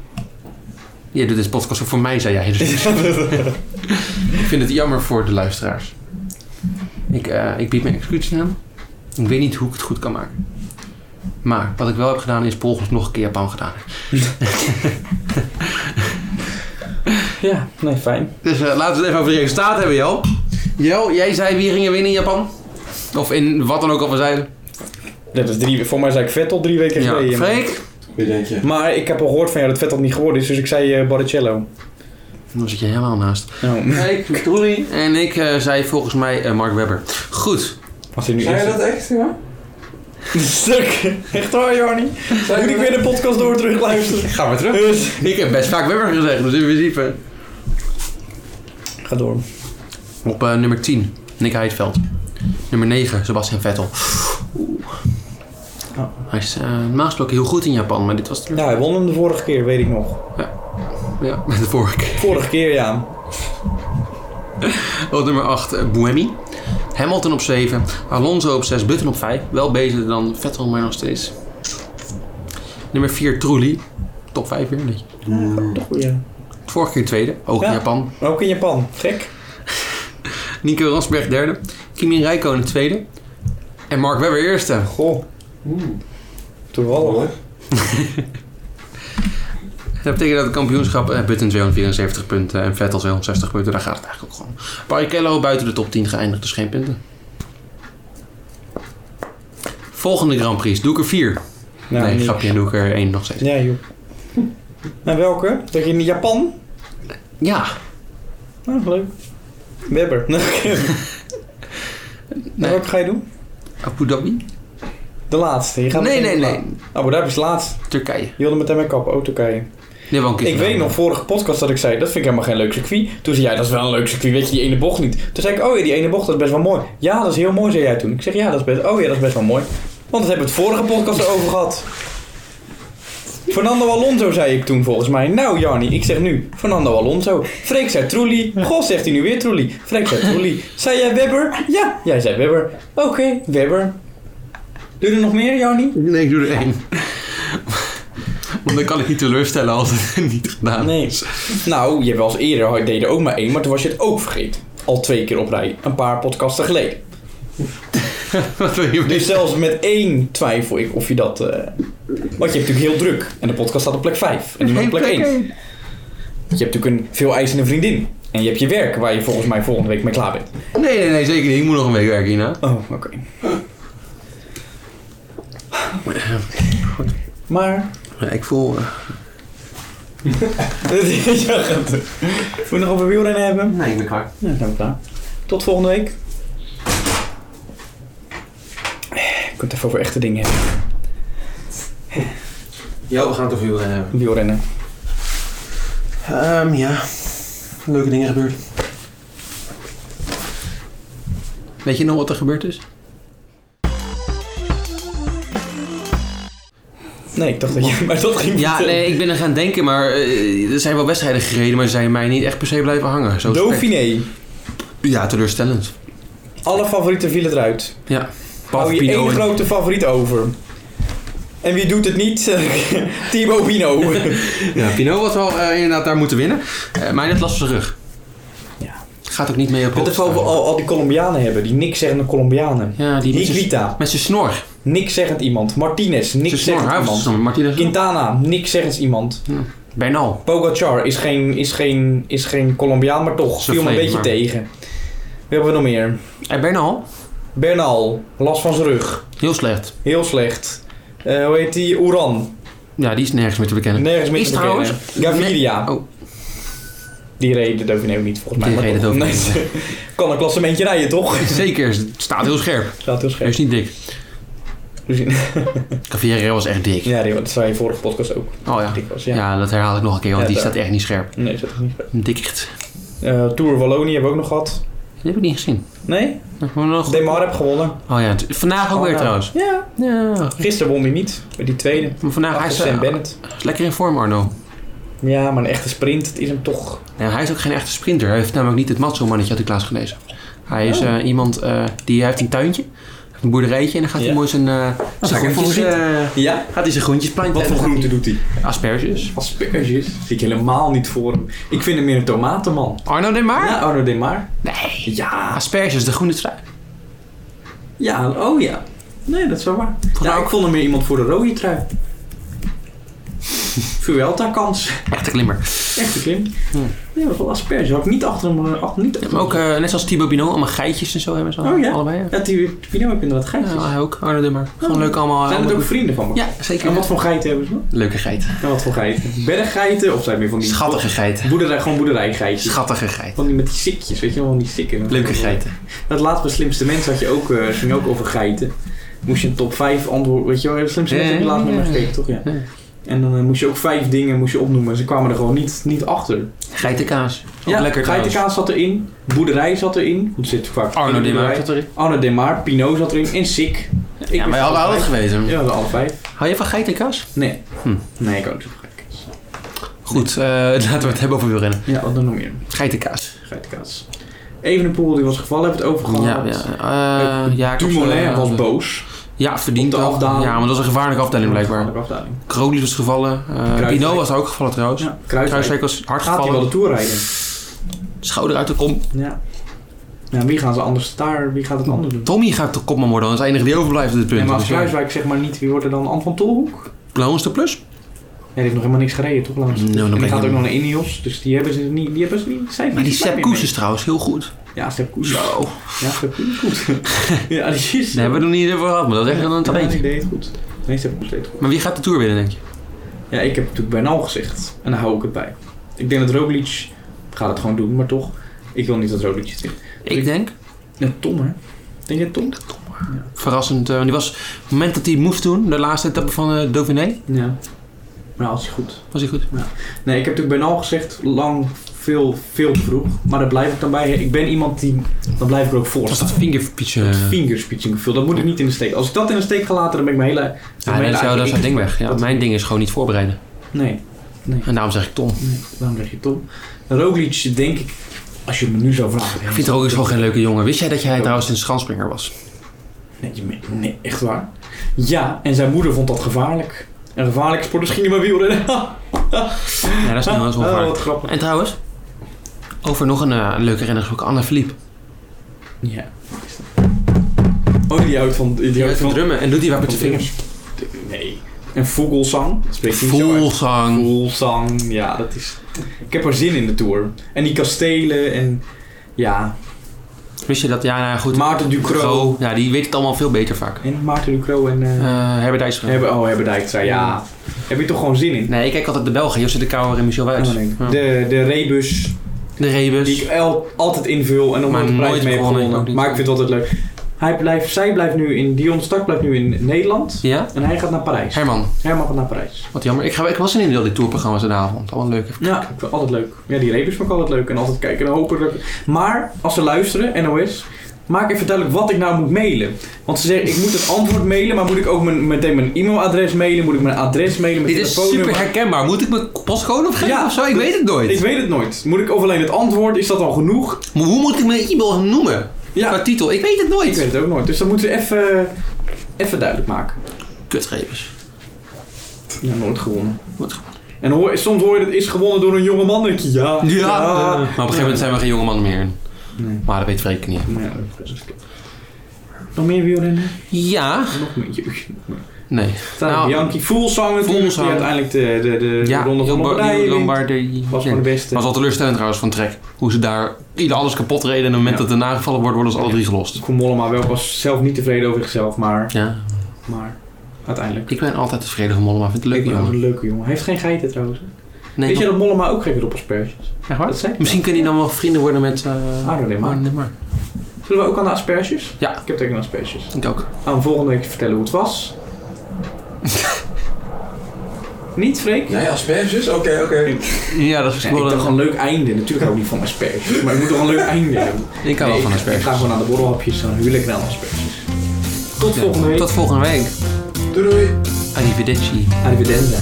Je doet deze podcast ook voor mij, zei jij. Dus ik vind het jammer voor de luisteraars. Ik, eh, ik bied mijn excuses aan. Ik weet niet hoe ik het goed kan maken. Maar wat ik wel heb gedaan is volgens nog een keer Japan gedaan. Ja, nee, fijn. Dus eh, laten we het even over de resultaten hebben, Jel. Jel, jij zei wie gingen winnen in Japan? Of in wat dan ook al we zeiden. Dat is drie, voor mij zei ik Vettel drie weken Ja, geleden. Freek. Wie denk je? Maar ik heb al gehoord van jou dat Vettel niet geworden is, dus ik zei eh, Barrichello. Dan zit je helemaal naast. Nou, Ik, Roelie. En ik eh, zei volgens mij eh, Mark Webber. Goed. was hij nu Zei je eerst? dat echt, ja? Stuk. Echt waar, Jarnie? Moet ik weer de podcast door terug luisteren? Gaan we terug. Dus. Ik heb best vaak Webber gezegd, dus in principe. Ga door. Op eh, nummer 10, Nick Heidveld. Nummer 9, Sebastian Vettel. Oeh. Oh. Hij is eh, normaal gesproken heel goed in Japan, maar dit was... Ja, hij won hem de vorige keer, weet ik nog. Ja, met de vorige keer. Vorige keer, ja. Op nummer 8, Buemi. Hamilton op 7. Alonso op 6. Button op 5. Wel beter dan Vettel, maar nog steeds. Nummer 4, Trulli. Top 5 weer. Nee. Ja. Vorige keer tweede. Ook in Ja. Japan. Ook in Japan. Gek. Nico Rosberg derde. Kimi Räikkönen tweede. En Mark Webber eerste. Goh. Toevallig. Dat betekent dat het kampioenschap eh, Button 274 punten en Vettel 260 punten. Daar gaat het eigenlijk ook gewoon. Barrichello buiten de top 10 geëindigd, dus geen punten. Volgende Grand Prix. Doe ik er 4. Nou, nee, niet. grapje. Doe ik er 1 nog steeds. Ja, joh. En welke? Dat je in Japan? Ja. Ah, leuk. Webber. Nee. En Wat ga je doen? Abu Dhabi? De laatste. Je gaat Nee, meteen nee, op- nee. Oh, maar daar is laatst. Turkije. Je wilde meteen mijn kap. Oh, Turkije. Nee, wel een keer Ik weet gedaan. nog, vorige podcast dat ik zei, dat vind ik helemaal geen leuk circuit. Toen zei jij, dat is wel een leuk circuit, weet je, die ene bocht niet. Toen zei ik, oh ja, die ene bocht, dat is best wel mooi. Ja, dat is heel mooi, zei jij toen. Ik zeg, ja, dat is best, oh ja, dat is best wel mooi. Want dat hebben we het vorige podcast erover gehad. Fernando Alonso zei ik toen volgens mij. Nou Jarni, ik zeg nu Fernando Alonso. Freek zei Trulli. Goh, zegt hij nu weer Trulli. Freek zei Trulli. Zei jij Webber? Ja, jij zei Webber. Oké, Webber. Doe je er nog meer, Jarni? Nee, ik doe er één. want dan kan ik niet teleurstellen als het niet gedaan is. Nee. Ah. Nou, je was eerder, had- deed er ook maar één, maar toen was je het ook vergeten. Al twee keer op rij, een paar podcasten geleden. Wat wil je me Dus zelfs met één twijfel ik of je dat... eh, Want je hebt natuurlijk heel druk. En de podcast staat op plek 5. En die was op plek 1. Je hebt natuurlijk een veel eisende vriendin. En je hebt je werk waar je volgens mij volgende week mee klaar bent. Nee, nee, nee, zeker niet. Ik moet nog een week werken hierna. Oh, oké. Maar... Ja, ik voel... eh, ja, gaat door. Moet je nog over wielrennen hebben? Nee, ik ben klaar. Ja, dan zijn we klaar. Tot volgende week. Ik kan het even over echte dingen hebben. Ja, we gaan het over eh, jou hebben. Wielrennen. Ehm, ja. Leuke dingen gebeurd. Weet je nog wat er gebeurd is? Nee, ik dacht dat je... Maar dat ging Ja, nee, ik ben er gaan denken, maar eh, er zijn wel wedstrijden gereden, maar ze zijn mij niet echt per se blijven hangen. Zo is het Dauphiné. echt. Ja, teleurstellend. Alle favorieten vielen eruit. Ja. Hou je Pino één en- grote favoriet over. En wie doet het niet? Timo Pino. Ja, Pino was wel eh, inderdaad daar moeten winnen, Eh, maar net last op zijn rug. Ja. Gaat ook niet mee op Met de Rotterdam. al, al die Colombianen hebben. Die niks zeggende Colombianen. Ja, die met zijn- Higuita. met zijn snor. Niks zeggend iemand. Martinez. Zijn Niks snor, zeggend hij was iemand. snor. Martinez. Quintana. Niks zeggend iemand. Bernal. Pogacar is geen, is geen, is geen Colombiaan, maar toch Is een viel me een vreemde, beetje maar- tegen. Wie hebben we nog meer? En Eh, Bernal, Bernal, last van zijn rug. heel slecht. Heel slecht. Eh, hoe heet die? Oeran. Ja, die is nergens meer te bekennen. Nergens meer Is te bekennen. Gaviria. Nee. Oh. Die reed de Dauphiné ook niet, volgens mij. Die maar reed toch. het ook niet. Nee, kan een klassementje rijden, toch? Zeker, het staat heel scherp. Staat heel Hij scherp. is niet dik. Caviera was echt dik. Ja, die- dat zei je vorige podcast ook. Oh ja. Dik was, ja. ja. dat herhaal ik nog een keer, want Ja, die daar. staat echt niet scherp. Nee, is dat is niet. Dikkert. Eh, Tour Wallonië hebben we ook nog gehad. Die heb ik niet gezien. Nee? Gewoon nog- Demar heb gewonnen. Oh ja, t- vandaag ook Oh, weer ja. trouwens. Ja. Ja. Gisteren won hij niet, bij die tweede. Maar vandaag hij Achter is Sam eh, Bennett. is lekker in vorm, Arno. Ja, maar een echte sprint, het is hem toch... Nee, hij is ook geen echte sprinter. Hij heeft namelijk niet het matzo-mannetje uit de klas gelezen. Hij Oh. is eh, iemand eh, die heeft een tuintje, heeft een boerderijtje en dan gaat Ja. hij mooi zijn, eh zijn ik even groentjes, eh, Ja? gaat hij zijn groentjes planten. Wat en voor dan gaat groente doet hij? hij- Asperges. Asperges? Zie ik helemaal niet voor hem. Ik vind hem meer een tomatenman. Arno de Maar? Ja, Arno Demar. Nee. Ja. Asperges, de groene trui. Ja, oh ja. Nee, dat is wel waar. Ja, mij ik ook. vond hem meer iemand voor de rode trui. Vuelta kans. Echte klimmer. Echte klim. Hm. Nee, maar wel asperge. Had ik niet achter hem... eh, Achter, niet achter Maar ook hem. eh, net zoals Thibaut Pinot, allemaal geitjes en zo hebben ze al- Oh ja? allebei. Ja. Ja, die Pino heb inderdaad geitjes. Ja, hij ook, Arno de Maar. Gewoon leuk allemaal. eh, Zijn het allemaal- ook vrienden van me? Ja, zeker. En wat voor geiten hebben ze? Leuke geit. En wat voor geiten? Berggeiten? Of zijn het meer van die... Schattige geit. Boerderij, gewoon boerderijgeitjes. Schattige geit. Van die met die sikjes, weet je wel, van die sikken. Leuke geiten. Dat laatste slimste mens had je ook, eh, ging ook over geiten. Moest je een top 5 antwoord, weet je wel, slimste mens heb je Ja, laatst ja, met me ja. gekeken, toch? Ja. Ja. En dan eh, moest je ook vijf dingen moest je opnoemen. Ze kwamen er gewoon niet, niet achter. Geitenkaas. Ook lekker trouwens. geitenkaas zat erin, boerderij zat erin. Goed zit vaak Arno de Maar. zat erin. Arno Demar, Pinot zat erin en Sik. Ja, Ik maar wist je had alle al vijf. geweten. Ja, we hadden alle vijf. Hou je van geitenkaas? Nee. Hm. Nee, ik ook niet zo gek. Goed, eh, laten we het hebben over wielrennen. Ja, wat dan nog meer? Geitenkaas. Geitenkaas. Even een poel die was gevallen, hebben we het over Ja, gehad. ja. eh, Jacobs, Dumoulin eh, was boos. Ja, verdiend Op de wel. afdaling. Ja, maar dat was een gevaarlijke afdeling blijkbaar. Gevaarlijke afdaling. Krolis was gevallen. eh Pino was ook gevallen trouwens. Ja, Kruiswijk Kruiswijk. was hard Gaat hij wel de gevallen. Tour rijden? Schouder uit de kom. Ja. Ja, wie gaan ze anders daar? Wie gaat het anders doen? Tommy gaat de kopman worden. Dat is de enige die overblijft op dit punt. En maar als Dus ja. Kruiswijk zeg maar niet, wie wordt er dan? Ant van Tolhoek? Blauw is de plus. Ja, die heeft nog helemaal niks gereden, toch? Langs. Nou, dan en ben die ik gaat ook hem. nog naar Ineos, dus die hebben ze niet. Die hebben ze niet. Zijn Maar die zijn Sepp niet Koes is mee. trouwens heel goed. Ja, Sepp Koes. Zo. Ja, Sepp Koes is goed. ja, die is... Daar hebben we het nog niet over gehad, maar dat is echt wel een Ja, die talentje. deed het goed. Nee, Sepp Koes deed het goed. Maar wie gaat de Tour winnen, denk je? Ja, ik heb natuurlijk bijna al gezegd. En daar hou ik het bij. Ik denk dat Roglic gaat het gewoon doen, maar toch. Ik wil niet dat Roglic het wint. Ik denk, En Tom, hè? Denk je Tom? verrassend, eh, die was, op het moment dat hij moest doen, de laatste etappe van eh, Dauphiné, Ja. Maar als hij goed... was hij goed. Nee, ik heb natuurlijk bijna al gezegd, lang, veel, veel te vroeg. Maar daar blijf ik dan bij. Ik ben iemand die, dan blijf ik er ook voor Was staan. dat eh, vingerpietje? Dat fingerspeeching gevoel, dat moet ik niet in de steek. Als ik dat in de steek ga laten, dan ben ik mijn hele... dan Ja, ben nee, ik dat is jouw- dat is eigenlijk- jouw ding weg. Ja, mijn ding is gewoon niet voorbereiden. Nee, En daarom zeg ik Tom. nee, daarom zeg je Tom. Roglic, denk ik, als je me nu zou vragen... Ik vind Roglic gewoon geen leuke jongen. Wist jij dat jij trouwens een schanspringer was? Nee, je me- nee, echt waar. Ja, en zijn moeder vond dat gevaarlijk. Een gevaarlijke sport is misschien niet meer wielrennen. Ja, dat is niet wel eens oh, ongevaarlijk. wat grappig. En trouwens, over nog een, eh, een leuke renner gesproken, Anna Philippe. Ja. Oh, die houdt van... Die Die houdt weet van van... drummen en doet die wat met de vingers. Nee. En Vogelsang. Dat spreekt niet zo uit. Voelsang. Vogelsang, ja, dat is... Ik heb er zin in de Tour. En die kastelen en... Ja, Wist je dat? Ja, nou ja, goed. Maarten Ducro. Zo, ja, die weet het allemaal veel beter vaak. En Maarten Ducro en... eh, Eh Herbert Dijsselgren. hebben, oh, hebben Dijkstra, ja. Heb je toch gewoon zin in? Nee, ik kijk altijd de Belgen. Josje de Kouwer en Michel Wuits. Oh, nee. Ja. De, de rebus De Rebus. die ik el- altijd invul en nog Maar nooit een prijs nooit mee heb gewonnen, ook gewonnen. niet. Maar ik vind het altijd leuk. Hij blijft, zij blijft nu in... Dion Stak blijft nu in Nederland. Ja? En hij gaat naar Parijs. Herman. Herman gaat naar Parijs. Wat jammer. Ik, ga, ik was in heel die tourprogramma's de avond. Allemaal leuk. Ja, ik vind het altijd leuk. Ja, die rebus vond ik altijd leuk. En altijd kijken en hopen. dat- Maar, als ze luisteren, NOS... Maak even duidelijk wat ik nou moet mailen. Want ze zeggen, ik moet het antwoord mailen, maar moet ik ook mijn, meteen mijn e-mailadres mailen? Moet ik mijn adres mailen, mijn Dit is telefoonnummer? super herkenbaar. Moet ik mijn postcode opgeven Ja. of zo? Ik weet het nooit. Ik weet het nooit. Moet ik of alleen het antwoord? Is dat al genoeg? Maar hoe moet ik mijn e-mail noemen? Ja. Qua titel. Ik weet het nooit. Ik weet het ook nooit. Dus dat moeten we even, even duidelijk maken. Kutgevers. Ja, nooit gewonnen. Wat ge- En hoor, soms hoor je dat is gewonnen door een jonge man. denk je, ja. Ja. Maar op een gegeven moment zijn we geen jonge mannen meer. Nee. Maar dat weet Freek niet. Maar ja, dat is kut. Nog meer wielrennen? Ja. Nog meer. jeugd. Nee. Nou, Bianchi Fuglsang natuurlijk. Die Fuglsang. uiteindelijk de, de, de, de ja, ronde van Lombard- Lombardije wint. Lombardi. Was gewoon de beste. was al teleurstellend trouwens van Trek. Hoe ze daar ieder alles kapot reden. En op het moment Ja. dat er nagevallen wordt, worden ze alle drie gelost. Koen Mollema wel was zelf niet tevreden over zichzelf, maar, Ja. maar uiteindelijk. Ik ben altijd tevreden van Mollema. Vind het een Ik leuke ben ook jongen. Een leuke jongen. Hij heeft geen geiten trouwens. Nee, Weet je toch? dat Mollema ook gek is op asperges? Echt waar? Dat zei ik. Misschien kunnen die dan wel vrienden worden met... eh Arno Ah, Lemar. Arno Lemar. Zullen we ook aan de asperges? Ja. Ik heb tegen asperges. Ik ook. Aan volgende week vertellen hoe het was. niet, Freek? Nee, asperges? Oké, oké. Ja, dat is Ja, ik wel dacht een- een leuk einde. Natuurlijk hou ik niet van asperges. Maar ik moet toch een leuk einde hebben. Ik hou wel van ik- asperges. Ik ga gewoon naar de borrelhapjes. Dan huwelijk ik wel asperges. Tot volgende week. Tot volgende week. Doei doei. Arrivederci. Arrivederci.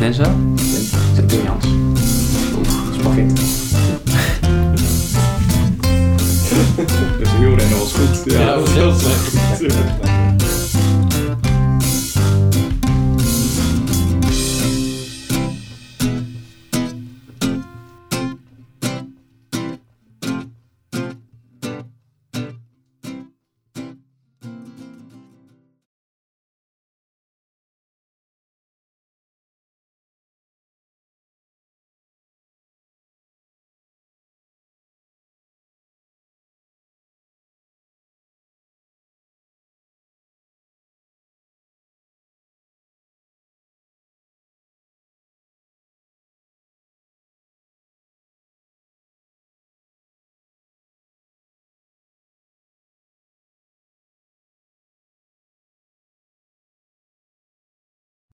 Mensen. Zet het Jans. Spaghetti. eh. Dus de wielrennen was goed. Ja, dat was heel slecht.